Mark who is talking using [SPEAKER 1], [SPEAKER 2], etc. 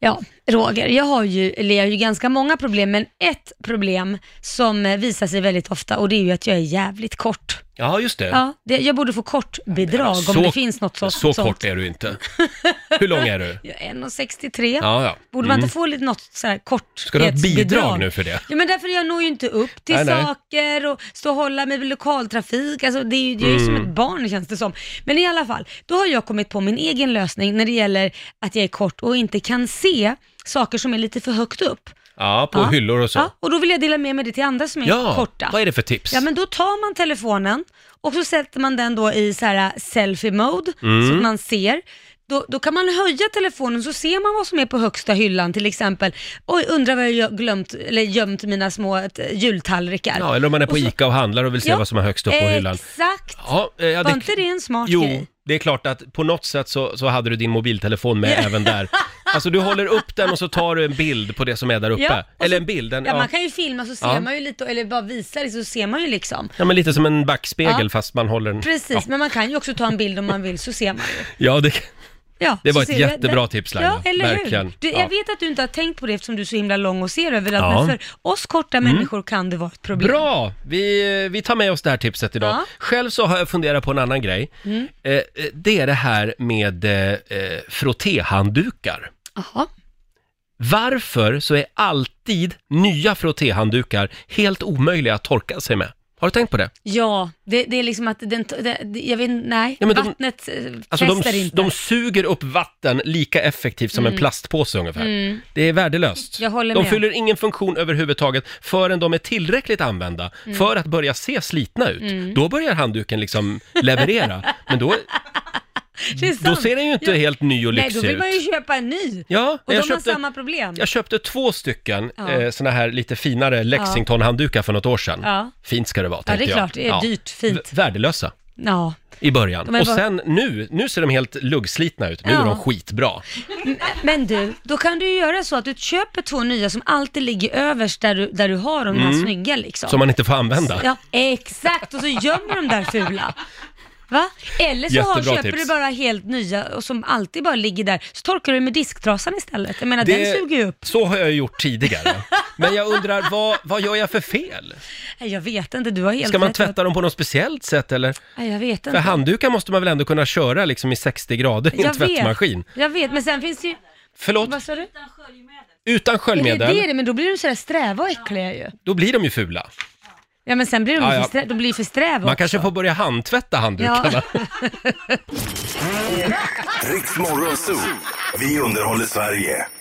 [SPEAKER 1] Ja, Roger, jag har ju, eller jag har ju ganska många problem, men ett problem som eh, visar sig väldigt ofta och det är ju att jag är jävligt kort.
[SPEAKER 2] Ja, just det.
[SPEAKER 1] Ja, det, jag borde få kort bidrag om det finns något så,
[SPEAKER 2] Så
[SPEAKER 1] sånt.
[SPEAKER 2] kort är du inte. Hur lång är du?
[SPEAKER 1] Jag är 1,63.
[SPEAKER 2] Ja, ja.
[SPEAKER 1] Borde man
[SPEAKER 2] Mm.
[SPEAKER 1] inte få lite något så här kort
[SPEAKER 2] Ska du ha ett bidrag nu för det?
[SPEAKER 1] Ja, men därför jag når ju inte upp till
[SPEAKER 2] Nej, nej.
[SPEAKER 1] saker och stå och hålla mig vid lokaltrafik. Alltså, det är ju, jag är ju som
[SPEAKER 2] Mm.
[SPEAKER 1] ett barn känns det som. Men i alla fall, då har jag kommit på min egen lösning när det gäller att jag är kort och inte kan se saker som är lite för högt upp.
[SPEAKER 2] Ja, på
[SPEAKER 1] Ja.
[SPEAKER 2] hyllor och så.
[SPEAKER 1] Ja, och då vill jag dela med mig det till andra som är
[SPEAKER 2] Ja,
[SPEAKER 1] korta.
[SPEAKER 2] vad är det för tips?
[SPEAKER 1] Ja, men då tar man telefonen och så sätter man den då i så här selfie-mode,
[SPEAKER 2] Mm.
[SPEAKER 1] så att man ser. Då, då kan man höja telefonen så ser man vad som är på högsta hyllan till exempel. Oj, undrar var jag glömt, eller gömt mina små eh, jultallrikar.
[SPEAKER 2] Ja, eller om man är på
[SPEAKER 1] Och så-
[SPEAKER 2] ICA och handlar och vill se
[SPEAKER 1] Ja,
[SPEAKER 2] vad som är högst upp på hyllan.
[SPEAKER 1] Exakt!
[SPEAKER 2] Ja, eh, ja,
[SPEAKER 1] Var inte det en smart
[SPEAKER 2] Jo,
[SPEAKER 1] grej?
[SPEAKER 2] det är klart att på något sätt så, så hade du din mobiltelefon med även där. Alltså du håller upp den och så tar du en bild på det som är där uppe.
[SPEAKER 1] Ja, och
[SPEAKER 2] Eller
[SPEAKER 1] så-
[SPEAKER 2] en bild, en,
[SPEAKER 1] Ja,
[SPEAKER 2] ja.
[SPEAKER 1] man kan ju filma så ser
[SPEAKER 2] Ja.
[SPEAKER 1] man ju lite, eller bara visa det så ser man ju liksom.
[SPEAKER 2] ja, men lite som en backspegel
[SPEAKER 1] Ja.
[SPEAKER 2] fast man håller den.
[SPEAKER 1] Precis,
[SPEAKER 2] Ja,
[SPEAKER 1] men man kan ju också ta en bild om man vill så ser man ju.
[SPEAKER 2] ja det,
[SPEAKER 1] Ja,
[SPEAKER 2] Det var
[SPEAKER 1] så
[SPEAKER 2] ett
[SPEAKER 1] ser jag-
[SPEAKER 2] jättebra
[SPEAKER 1] där-
[SPEAKER 2] tips, Laila.
[SPEAKER 1] Ja, eller
[SPEAKER 2] Verkligen.
[SPEAKER 1] hur? Du,
[SPEAKER 2] Ja.
[SPEAKER 1] Jag vet att du inte har tänkt på det eftersom du är så himla lång och ser överallt,
[SPEAKER 2] Ja. Mm.
[SPEAKER 1] men för oss korta människor kan det vara ett problem.
[SPEAKER 2] Bra! Vi, vi tar med oss det här tipset idag.
[SPEAKER 1] Ja.
[SPEAKER 2] Själv så har jag funderat på en annan grej.
[SPEAKER 1] Mm.
[SPEAKER 2] Eh, eh, det är det här med eh, eh, frottéhanddukar.
[SPEAKER 1] Jaha.
[SPEAKER 2] Varför så är alltid nya frottéhanddukar helt omöjliga att torka sig med? Har du tänkt på det?
[SPEAKER 1] Ja, det, det är liksom att den, det, det- jag vet nej,
[SPEAKER 2] Ja, men de-
[SPEAKER 1] vattnet eh,
[SPEAKER 2] Alltså
[SPEAKER 1] fäster
[SPEAKER 2] de,
[SPEAKER 1] inte.
[SPEAKER 2] de suger upp vatten lika effektivt som en
[SPEAKER 1] Mm.
[SPEAKER 2] plastpåse ungefär.
[SPEAKER 1] Mm.
[SPEAKER 2] Det är värdelöst.
[SPEAKER 1] Jag håller
[SPEAKER 2] De
[SPEAKER 1] med.
[SPEAKER 2] fyller ingen funktion överhuvudtaget förrän de är tillräckligt använda
[SPEAKER 1] Mm.
[SPEAKER 2] för att börja se slitna ut.
[SPEAKER 1] Mm.
[SPEAKER 2] Då börjar handduken liksom leverera. Men då,
[SPEAKER 1] Det är
[SPEAKER 2] då
[SPEAKER 1] sant.
[SPEAKER 2] ser den ju inte
[SPEAKER 1] Ja.
[SPEAKER 2] helt ny och
[SPEAKER 1] Nej, då
[SPEAKER 2] lyxig
[SPEAKER 1] vill
[SPEAKER 2] ut.
[SPEAKER 1] man ju köpa en ny.
[SPEAKER 2] Ja,
[SPEAKER 1] Och
[SPEAKER 2] jag
[SPEAKER 1] de
[SPEAKER 2] köpte-
[SPEAKER 1] har samma problem.
[SPEAKER 2] Jag köpte två stycken
[SPEAKER 1] Ja.
[SPEAKER 2] eh, såna här lite finare Lexington-handdukar för något år sedan.
[SPEAKER 1] Ja.
[SPEAKER 2] Fint ska det vara,
[SPEAKER 1] Ja, det
[SPEAKER 2] tänkte
[SPEAKER 1] är
[SPEAKER 2] jag.
[SPEAKER 1] klart. Det är dyrt, fint.
[SPEAKER 2] V- Värdelösa
[SPEAKER 1] Ja.
[SPEAKER 2] i början.
[SPEAKER 1] De är
[SPEAKER 2] och
[SPEAKER 1] bara-
[SPEAKER 2] sen nu, nu ser de helt luggslitna ut. Nu är
[SPEAKER 1] Ja.
[SPEAKER 2] de skitbra.
[SPEAKER 1] M- Men du, då kan du ju göra så att du köper två nya som alltid ligger överst där du, där du har de här
[SPEAKER 2] Mm.
[SPEAKER 1] snygga liksom.
[SPEAKER 2] Som man inte får använda.
[SPEAKER 1] Ja, exakt. Och så gömmer de där fula. Va? Eller så har,
[SPEAKER 2] Jättebra
[SPEAKER 1] köper
[SPEAKER 2] tips.
[SPEAKER 1] du bara helt nya och som alltid bara ligger där. Så torkar du med disktrasan istället. Jag menar, den suger ju upp.
[SPEAKER 2] Så har jag gjort tidigare. Men jag undrar, vad, vad gör jag för fel?
[SPEAKER 1] Nej, Jag vet inte, du har helt
[SPEAKER 2] Ska man
[SPEAKER 1] rätt.
[SPEAKER 2] tvätta dem på något speciellt sätt eller?
[SPEAKER 1] Nej, jag vet
[SPEAKER 2] För
[SPEAKER 1] inte.
[SPEAKER 2] handdukar måste man väl ändå kunna köra liksom i 60 grader i en
[SPEAKER 1] Jag vet.
[SPEAKER 2] tvättmaskin?
[SPEAKER 1] Jag vet, men sen finns det ju...
[SPEAKER 2] Förlåt,
[SPEAKER 1] Vad sa du?
[SPEAKER 2] utan
[SPEAKER 1] Är det
[SPEAKER 2] sköljmedel,
[SPEAKER 1] det, är det? men då blir de sådär sträva och äckliga ju.
[SPEAKER 2] då blir de ju fula.
[SPEAKER 1] Ja, men sen blir de,
[SPEAKER 2] Ja,
[SPEAKER 1] ju
[SPEAKER 2] ja.
[SPEAKER 1] För, strä... de blir för sträva
[SPEAKER 2] Man
[SPEAKER 1] också.
[SPEAKER 2] kanske får börja handtvätta handdukarna.
[SPEAKER 3] Riks Morgonzoo. Vi underhåller Sverige.